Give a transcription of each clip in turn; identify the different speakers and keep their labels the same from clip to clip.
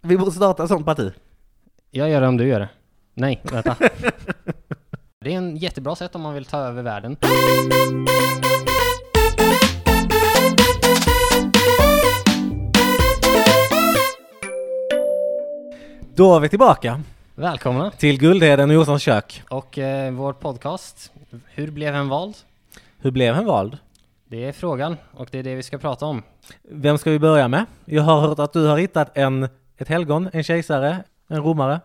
Speaker 1: Vi borde starta ett sånt parti.
Speaker 2: Jag gör det om du gör det. Nej, vänta. det är en jättebra sätt om man vill ta över världen.
Speaker 1: Då är vi tillbaka
Speaker 2: Välkomna!
Speaker 1: till Guldheden och Jossans kök.
Speaker 2: Och eh, vår podcast, Hur blev en vald?
Speaker 1: Hur blev han vald?
Speaker 2: Det är frågan och det är det vi ska prata om.
Speaker 1: Vem ska vi börja med? Jag har hört att du har hittat en, ett helgon, en kejsare, en romare.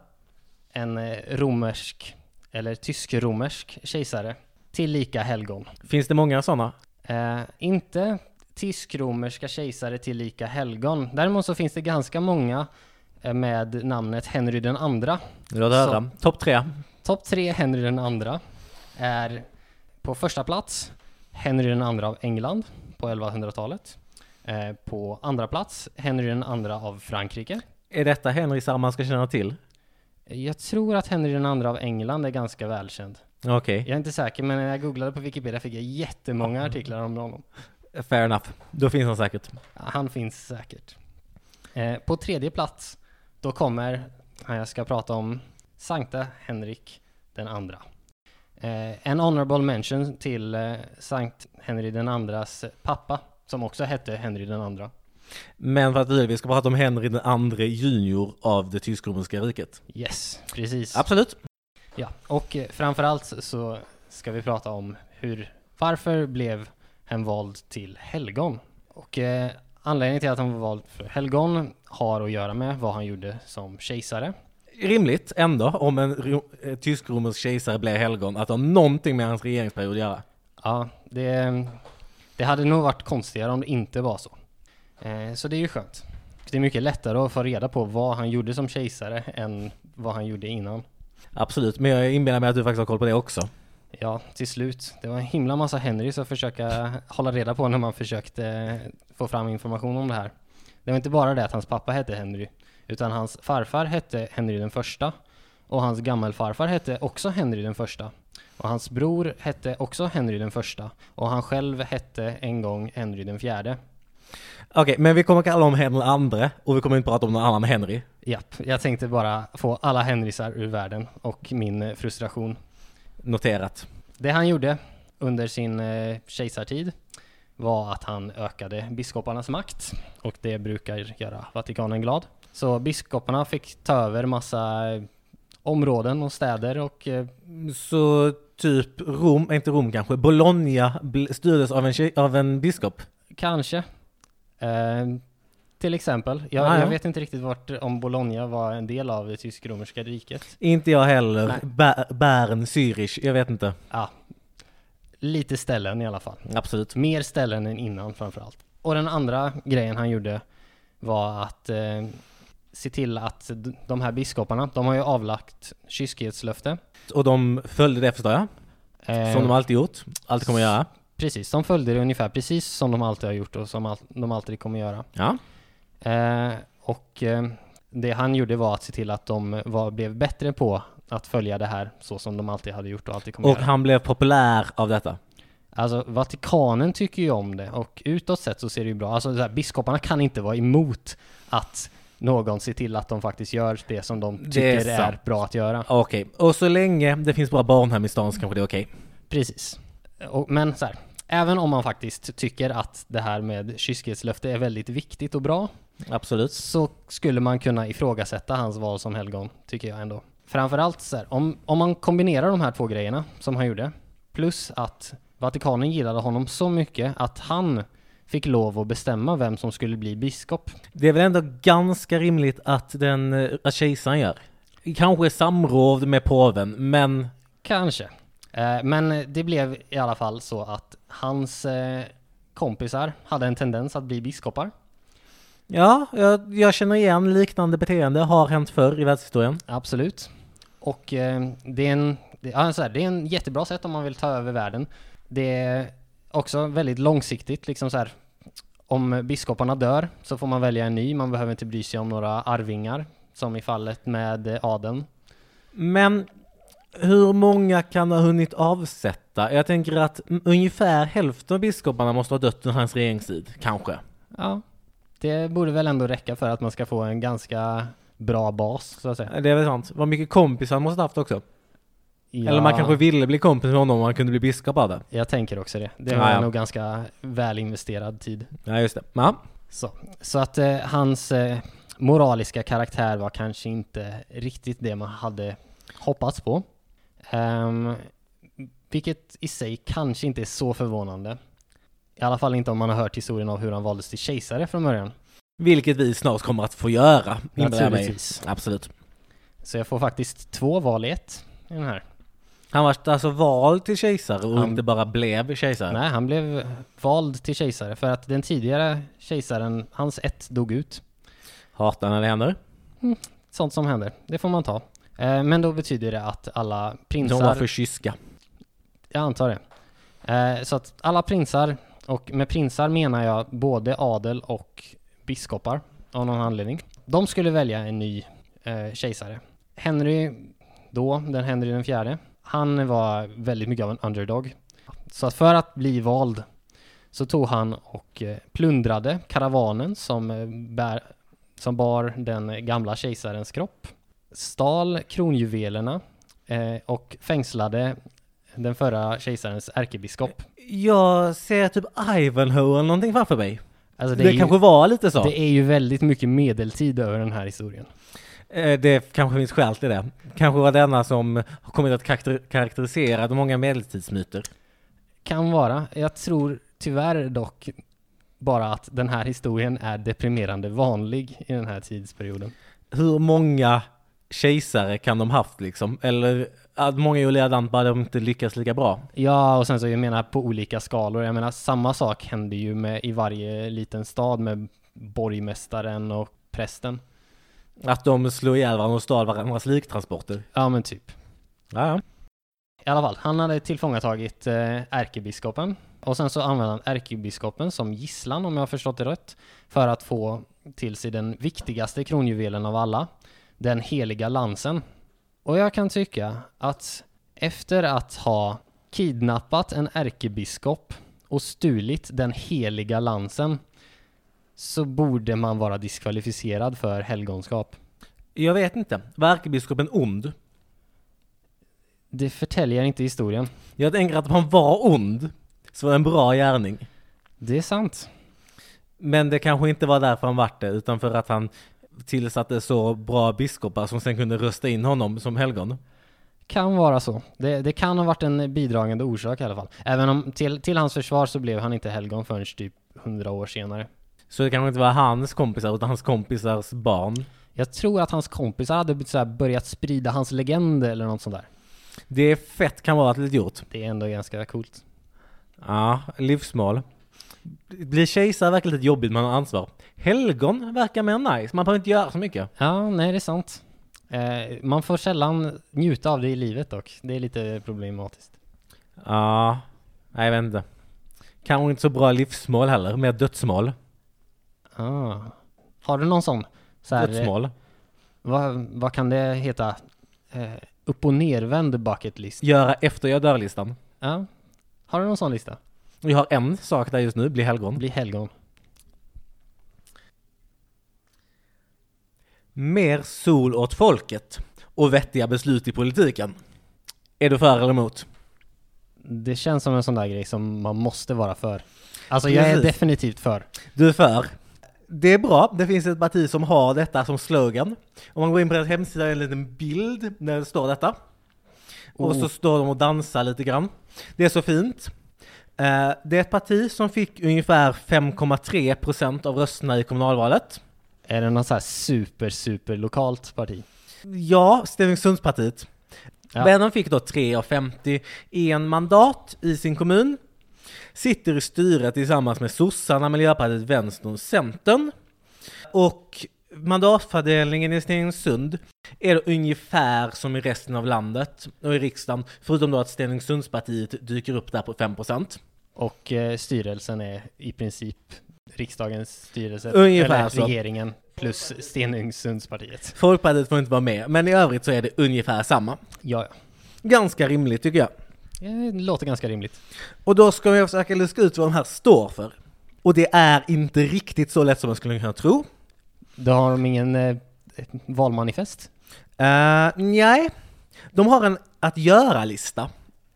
Speaker 2: En eh, romersk, eller tysk-romersk kejsare, tillika helgon.
Speaker 1: Finns det många sådana?
Speaker 2: Eh, inte tysk-romerska kejsare tillika helgon. Däremot så finns det ganska många eh, med namnet Henry den andra.
Speaker 1: Du har höra. Topp tre.
Speaker 2: Topp tre Henry den andra är på första plats Henry den andra av England på 1100-talet. Eh, på andra plats Henry den andra av Frankrike.
Speaker 1: Är detta Henrisar man ska känna till?
Speaker 2: Jag tror att Henry den andra av England är ganska välkänd.
Speaker 1: Okej,
Speaker 2: Jag är inte säker, men när jag googlade på Wikipedia fick jag jättemånga artiklar om honom.
Speaker 1: fair enough. Då finns han säkert.
Speaker 2: Han finns säkert. Eh, på tredje plats, då kommer han jag ska prata om, Sankta Henrik den andra. Eh, en honorable mention till eh, Sankt Henry den andras pappa, som också hette Henry den andra.
Speaker 1: Men för att vi vi ska prata om Henry den andre junior av det tysk-romerska riket.
Speaker 2: Yes, precis.
Speaker 1: Absolut.
Speaker 2: Ja, och eh, framförallt så ska vi prata om hur, varför blev han vald till helgon? Och eh, anledningen till att han var vald för helgon har att göra med vad han gjorde som kejsare.
Speaker 1: Rimligt ändå om en ro- eh, tysk-romersk kejsare blev helgon att ha någonting med hans regeringsperiod att göra.
Speaker 2: Ja, det, det hade nog varit konstigare om det inte var så. Eh, så det är ju skönt. Det är mycket lättare att få reda på vad han gjorde som kejsare än vad han gjorde innan.
Speaker 1: Absolut, men jag inbillar mig att du faktiskt har koll på det också.
Speaker 2: Ja, till slut. Det var en himla massa Henrys att försöka hålla reda på när man försökte eh, få fram information om det här. Det var inte bara det att hans pappa hette Henry, utan hans farfar hette Henry den första och hans gammelfarfar hette också Henry den första. Och hans bror hette också Henry den första och han själv hette en gång Henry den fjärde.
Speaker 1: Okej, men vi kommer kalla om Henry andre och vi kommer inte prata om någon annan Henry.
Speaker 2: Japp, jag tänkte bara få alla Henrysar ur världen och min eh, frustration.
Speaker 1: Noterat.
Speaker 2: Det han gjorde under sin eh, kejsartid var att han ökade biskoparnas makt och det brukar göra Vatikanen glad. Så biskoparna fick ta över massa eh, områden och städer och eh,
Speaker 1: Så typ Rom, inte Rom kanske, Bologna bl- styrdes av en, tjej, av en biskop.
Speaker 2: kanske eh, till exempel, jag,
Speaker 1: Ah, ja.
Speaker 2: jag vet inte riktigt vart om Bologna var en del av det tysk-romerska riket.
Speaker 1: Inte jag heller.
Speaker 2: Nej.
Speaker 1: Bär, Bern, Zürich, jag vet inte.
Speaker 2: Ja, lite ställen i alla fall.
Speaker 1: Absolut.
Speaker 2: Mer ställen än innan framförallt. Och den andra grejen han gjorde var att eh, se till att d- de här biskoparna, de har ju avlagt kyskhetslöfte.
Speaker 1: Och de följde det förstår jag.
Speaker 2: Eh,
Speaker 1: Som de alltid gjort, alltid kommer göra.
Speaker 2: Precis, de följde det ungefär precis som de alltid har gjort och som all- de alltid kommer göra.
Speaker 1: Ja.
Speaker 2: Eh, och eh, det han gjorde var att se till att de var, blev bättre på att följa det här så som de alltid hade gjort och alltid kommer
Speaker 1: Och
Speaker 2: göra.
Speaker 1: han blev populär av detta.
Speaker 2: Alltså Vatikanen tycker ju om det och utåt sett så ser det ju bra. Alltså så här, biskoparna kan inte vara emot att någon ser till att de faktiskt gör det som de tycker
Speaker 1: är
Speaker 2: är,
Speaker 1: sant.
Speaker 2: bra att göra.
Speaker 1: Okej, och så länge det finns bara barnhem i stan så kanske det är okej.
Speaker 2: Precis. Och, men så här, även om man faktiskt tycker att det här med kyskhetslöfte är väldigt viktigt och bra
Speaker 1: Absolut.
Speaker 2: så skulle man kunna ifrågasätta hans val som helgon, tycker jag ändå. Framförallt så här, om, om man kombinerar de här två grejerna som han gjorde, plus att Vatikanen gillade honom så mycket att han fick lov att bestämma vem som skulle bli biskop.
Speaker 1: Det är väl ändå ganska rimligt att den, eh, att kejsaren gör. Kanske i samråd med påven, men
Speaker 2: Kanske. Eh, Men det blev i alla fall så att hans eh, kompisar hade en tendens att bli biskopar.
Speaker 1: ja, jag, jag känner igen liknande beteende, har hänt förr i världshistorien.
Speaker 2: Absolut. Och eh, det, är en, det, ja, så här, det är en jättebra sätt om man vill ta över världen. Det är också väldigt långsiktigt. Liksom så här, om biskoparna dör så får man välja en ny. Man behöver inte bry sig om några arvingar. Som i fallet med eh, adeln.
Speaker 1: Men hur många kan ha hunnit avsätta? Jag tänker att mm, ungefär hälften av biskoparna måste ha dött under hans regeringstid, kanske.
Speaker 2: Ja, det borde väl ändå räcka för att man ska få en ganska bra bas, så att säga.
Speaker 1: Det är väl sant. Vad mycket kompisar han måste haft också.
Speaker 2: Ja,
Speaker 1: Eller man kanske ville bli kompis med honom och han kunde bli biskop av det.
Speaker 2: Jag tänker också det. Det
Speaker 1: Ja,
Speaker 2: var
Speaker 1: ja.
Speaker 2: nog ganska väl investerad tid.
Speaker 1: Ja, just det. Ja.
Speaker 2: Så, så att eh, hans eh, moraliska karaktär var kanske inte riktigt det man hade hoppats på. Ehm, vilket i sig kanske inte är så förvånande. I alla fall inte om man har hört historien av hur han valdes till kejsare från början.
Speaker 1: Vilket vi snart kommer att få göra. inbillar jag mig.
Speaker 2: Naturligtvis.
Speaker 1: Absolut.
Speaker 2: Så jag får faktiskt två val i ett i den här.
Speaker 1: Han var alltså vald till kejsare och
Speaker 2: Han-
Speaker 1: inte bara blev kejsare.
Speaker 2: Nej, han blev vald till kejsare för att den tidigare kejsaren, hans ett, dog ut.
Speaker 1: Hatar när det händer.
Speaker 2: Sånt som händer, det får man ta. Eh, men då betyder det att alla
Speaker 1: De var
Speaker 2: prinsar
Speaker 1: för kyska.
Speaker 2: Jag antar det. Eh, så att alla prinsar, och med prinsar menar jag både adel och biskopar av någon anledning. De skulle välja en ny eh, kejsare. Henry då, den Henry den fjärde, han var väldigt mycket av en underdog. Så att för att bli vald så tog han och eh, plundrade karavanen som, eh, bär, som bar den gamla kejsarens kropp, stal kronjuvelerna eh, och fängslade den förra kejsarens ärkebiskop.
Speaker 1: Jag ser typ Ivanhoe eller någonting framför mig.
Speaker 2: Alltså
Speaker 1: Det,
Speaker 2: det, är
Speaker 1: kanske var lite så.
Speaker 2: ju, det är ju väldigt mycket medeltid över den här historien.
Speaker 1: Eh, Det kanske finns skäl till det. Kanske var denna som har kommit att karakter- karaktärisera de många medeltidsmyter.
Speaker 2: Kan vara. Jag tror tyvärr dock bara att den här historien är deprimerande vanlig i den här tidsperioden.
Speaker 1: Hur många kejsare kan de haft liksom? Eller att många olika land bara de inte lyckas lika bra.
Speaker 2: Ja, och sen så jag menar på olika skalor. Jag menar samma sak händer ju med, i varje liten stad med borgmästaren och prästen.
Speaker 1: Att de slog ihjäl varandra och stal varandras liktransporter.
Speaker 2: Ja, men typ.
Speaker 1: Ja, ja.
Speaker 2: I alla fall, han hade tillfångatagit eh, ärkebiskopen och sen så använde han ärkebiskopen som gisslan om jag har förstått det rätt för att få till sig den viktigaste kronjuvelen av alla, den heliga lansen. Och jag kan tycka att efter att ha kidnappat en ärkebiskop och stulit den heliga lansen så borde man vara diskvalificerad för helgonskap.
Speaker 1: Jag vet inte. Var ärkebiskopen ond?
Speaker 2: Det förtäljer inte historien.
Speaker 1: Jag tänker att om han var ond, så var det en bra gärning.
Speaker 2: Det är sant.
Speaker 1: Men det kanske inte var därför han vart det, utan för att han tillsatte så bra biskopar som sen kunde rösta in honom som helgon.
Speaker 2: Kan vara så. Det, det kan ha varit en bidragande orsak i alla fall. Även om till, till hans försvar så blev han inte helgon förrän typ 100 år senare.
Speaker 1: Så det kanske inte var hans kompisar, utan hans kompisars barn.
Speaker 2: Jag tror att hans kompisar hade så här börjat sprida hans legend eller något sånt där.
Speaker 1: Det är fett kan vara lite gjort.
Speaker 2: Det är ändå ganska coolt.
Speaker 1: Ja, livsmål. Bli kejsare verkar lite jobbigt, man har ansvar. Helgon verkar mer nice, man behöver inte göra så mycket.
Speaker 2: Ja, nej det är sant. Eh, man får sällan njuta av det i livet dock. Det är lite problematiskt.
Speaker 1: Ja, nej jag vet inte. Kanske inte så bra livsmål heller, mer dödsmål.
Speaker 2: Ah. Har du någon sån? Så här, eh,
Speaker 1: Dödsmål.
Speaker 2: vad, vad kan det heta? Eh, upp och nervänd bucket list?
Speaker 1: Göra efter jag dör-listan.
Speaker 2: Ja. Har du någon sån lista?
Speaker 1: Vi har en sak där just nu, bli helgon.
Speaker 2: Bli helgon.
Speaker 1: Mer sol åt folket och vettiga beslut i politiken. Är du för eller emot?
Speaker 2: Det känns som en sån där grej som man måste vara för. Alltså jag är
Speaker 1: Precis.
Speaker 2: definitivt för.
Speaker 1: Du är för. Det är bra, det finns ett parti som har detta som slogan. Om man går in på deras hemsida är det en liten bild där det står detta. Och så står de och dansar lite grann. Det är så fint. Eh, Det är ett parti som fick ungefär 5,3% av rösterna i kommunalvalet.
Speaker 2: Är det något så här super, super lokalt parti?
Speaker 1: Ja, Stenungsundspartiet.
Speaker 2: Ja.
Speaker 1: Men de fick då 3 av 51 mandat i sin kommun. Sitter i styret tillsammans med sossarna, Miljöpartiet, Vänstern och Centern. Och mandatfördelningen i Stenungsund är då ungefär som i resten av landet och i riksdagen, förutom då att Stenungsundspartiet dyker upp där på 5%.
Speaker 2: Och eh, styrelsen är i princip riksdagens styrelse.
Speaker 1: Ungefär
Speaker 2: eller
Speaker 1: så.
Speaker 2: regeringen plus Stenungsundspartiet.
Speaker 1: Folkpartiet får inte vara med, men i övrigt så är det ungefär samma.
Speaker 2: Ja, ja.
Speaker 1: Ganska rimligt tycker jag.
Speaker 2: Det låter ganska rimligt.
Speaker 1: Och då ska vi försöka luska ut vad de här står för. Och det är inte riktigt så lätt som man skulle kunna tro.
Speaker 2: Då har de ingen eh, ett valmanifest?
Speaker 1: Eh, nej, de har en att göra-lista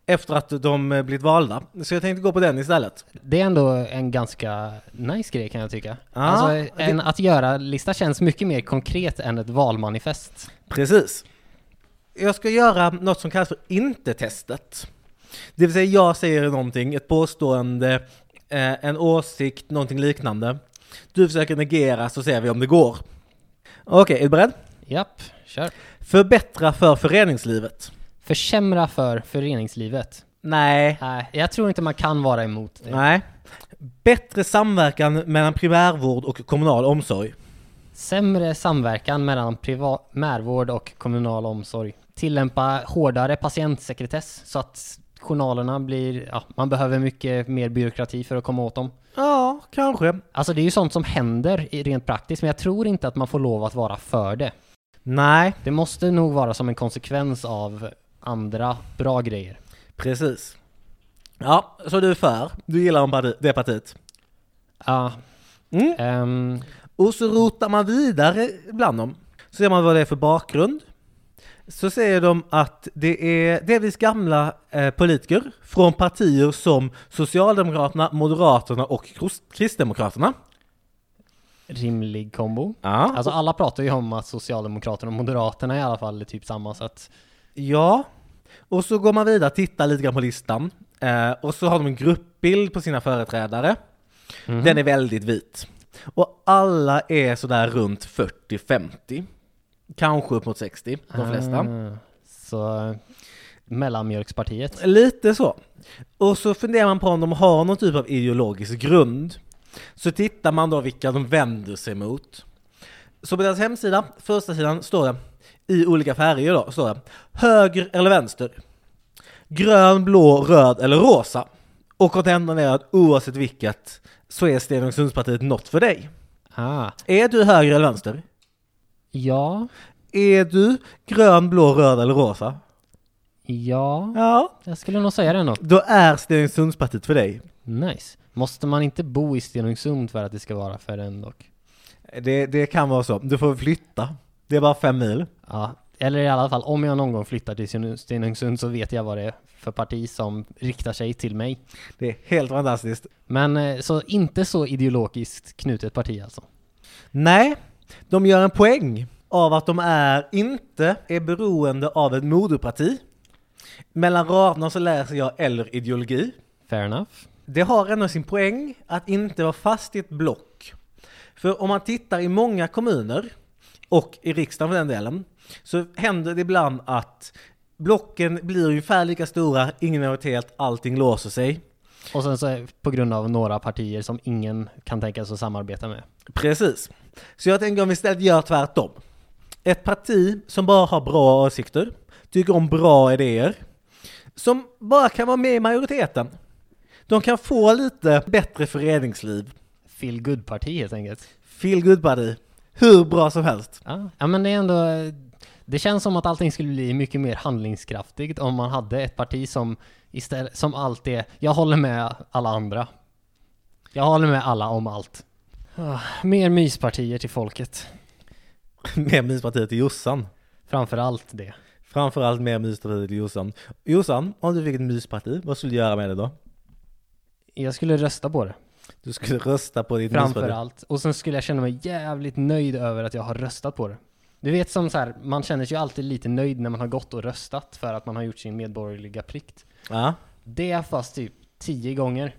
Speaker 1: efter att de eh, blivit valda. Så jag tänkte gå på den istället.
Speaker 2: Det är ändå en ganska nice grej kan jag tycka.
Speaker 1: Ja,
Speaker 2: alltså,
Speaker 1: det-
Speaker 2: en att göra-lista känns mycket mer konkret än ett valmanifest.
Speaker 1: Precis. Jag ska göra något som kallas för inte-testet. Det vill säga jag säger någonting, ett påstående, eh, en åsikt, någonting liknande. Du försöker negera så ser vi om det går. Okej, är du beredd?
Speaker 2: Japp, kör.
Speaker 1: Förbättra för föreningslivet.
Speaker 2: Försämra för föreningslivet.
Speaker 1: Nej.
Speaker 2: Nej, jag tror inte man kan vara emot det.
Speaker 1: Nej. Bättre samverkan mellan primärvård och kommunal omsorg.
Speaker 2: Sämre samverkan mellan priva- primärvård och kommunal omsorg. Tillämpa hårdare patientsekretess så att journalerna blir, ja, man behöver mycket mer byråkrati för att komma åt dem.
Speaker 1: Ja, kanske.
Speaker 2: Alltså det är ju sånt som händer i- rent praktiskt, men jag tror inte att man får lov att vara för det.
Speaker 1: Nej,
Speaker 2: Det måste nog vara som en konsekvens av andra bra grejer.
Speaker 1: precis. Ja, så du är för. Du gillar om parti- det partiet.
Speaker 2: Ja,
Speaker 1: Mm.
Speaker 2: ehm,
Speaker 1: Och så rotar man vidare bland dem. Så ser man vad det är för bakgrund. Så säger de att det är delvis gamla eh, politiker från partier som Socialdemokraterna, Moderaterna och Kros- Kristdemokraterna.
Speaker 2: rimlig kombo.
Speaker 1: Ja.
Speaker 2: Alltså alla pratar ju om att Socialdemokraterna och Moderaterna i alla fall är typ samma, så att
Speaker 1: ja. Och så går man vidare och tittar lite grann på listan. Eh, och så har de en gruppbild på sina företrädare. Den är väldigt vit. Och alla är sådär runt 40-50. Kanske upp mot 60, de flesta.
Speaker 2: Ah, Så eh, mellanmjölkspartiet.
Speaker 1: Lite så. Och så funderar man på om de har någon typ av ideologisk grund. Så tittar man då vilka de vänder sig mot. Så på deras hemsida, första sidan, står det i olika färger då, står det höger eller vänster. Grön, blå, röd eller rosa. Och kontentan är att oavsett vilket så är Stenungsundspartiet något för dig.
Speaker 2: Ah,
Speaker 1: Är du höger eller vänster?
Speaker 2: ja,
Speaker 1: Är du grön, blå, röd eller rosa?
Speaker 2: ja,
Speaker 1: Ja,
Speaker 2: jag skulle nog säga det ändå.
Speaker 1: då är Stenungsundspartiet för dig.
Speaker 2: Nice. Måste man inte bo i Stenungsund för att det ska vara för en dock?
Speaker 1: Det, det kan vara så. Du får flytta. Det är bara fem mil.
Speaker 2: Ja, eller i alla fall om jag någon gång flyttar till Sten- Stenungsund så vet jag vad det är för parti som riktar sig till mig.
Speaker 1: Det är helt fantastiskt.
Speaker 2: Men eh, så inte så ideologiskt knutet parti alltså.
Speaker 1: Nej, de gör en poäng av att de är inte är beroende av ett moderparti. Mellan raderna så läser jag eller ideologi.
Speaker 2: Fair enough.
Speaker 1: Det har ändå sin poäng att inte vara fast i ett block. För om man tittar i många kommuner, och i riksdagen för den delen, så händer det ibland att blocken blir ungefär lika stora, ingen majoritet, allting låser sig.
Speaker 2: Och sen så är- på grund av några partier som ingen kan tänka sig att samarbeta med.
Speaker 1: Precis. Så jag tänker om vi istället gör tvärtom. Ett parti som bara har bra åsikter, tycker om bra idéer, som bara kan vara med i majoriteten. De kan få lite bättre föreningsliv.
Speaker 2: Feel good parti helt enkelt.
Speaker 1: Feel good parti Hur bra som helst.
Speaker 2: Ja, ja men det är ändå... Det känns som att allting skulle bli mycket mer handlingskraftigt om man hade ett parti som istället, som allt är, jag håller med alla andra. Jag håller med alla om allt. Ah, Mer myspartier till folket.
Speaker 1: Med myspartiet till Jossan.
Speaker 2: Framför allt det.
Speaker 1: Framförallt med myspartiet till Jossan. Jossan, om du fick ett mysparti, vad skulle du göra med det då?
Speaker 2: Jag skulle rösta på det.
Speaker 1: Du skulle rösta på ditt
Speaker 2: Framför
Speaker 1: mysparti.
Speaker 2: allt. Och sen skulle jag känna mig jävligt nöjd över att jag har röstat på det. Du vet som så här, man känner sig ju alltid lite nöjd när man har gått och röstat för att man har gjort sin medborgerliga plikt.
Speaker 1: Ja.
Speaker 2: Det fast typ tio gånger.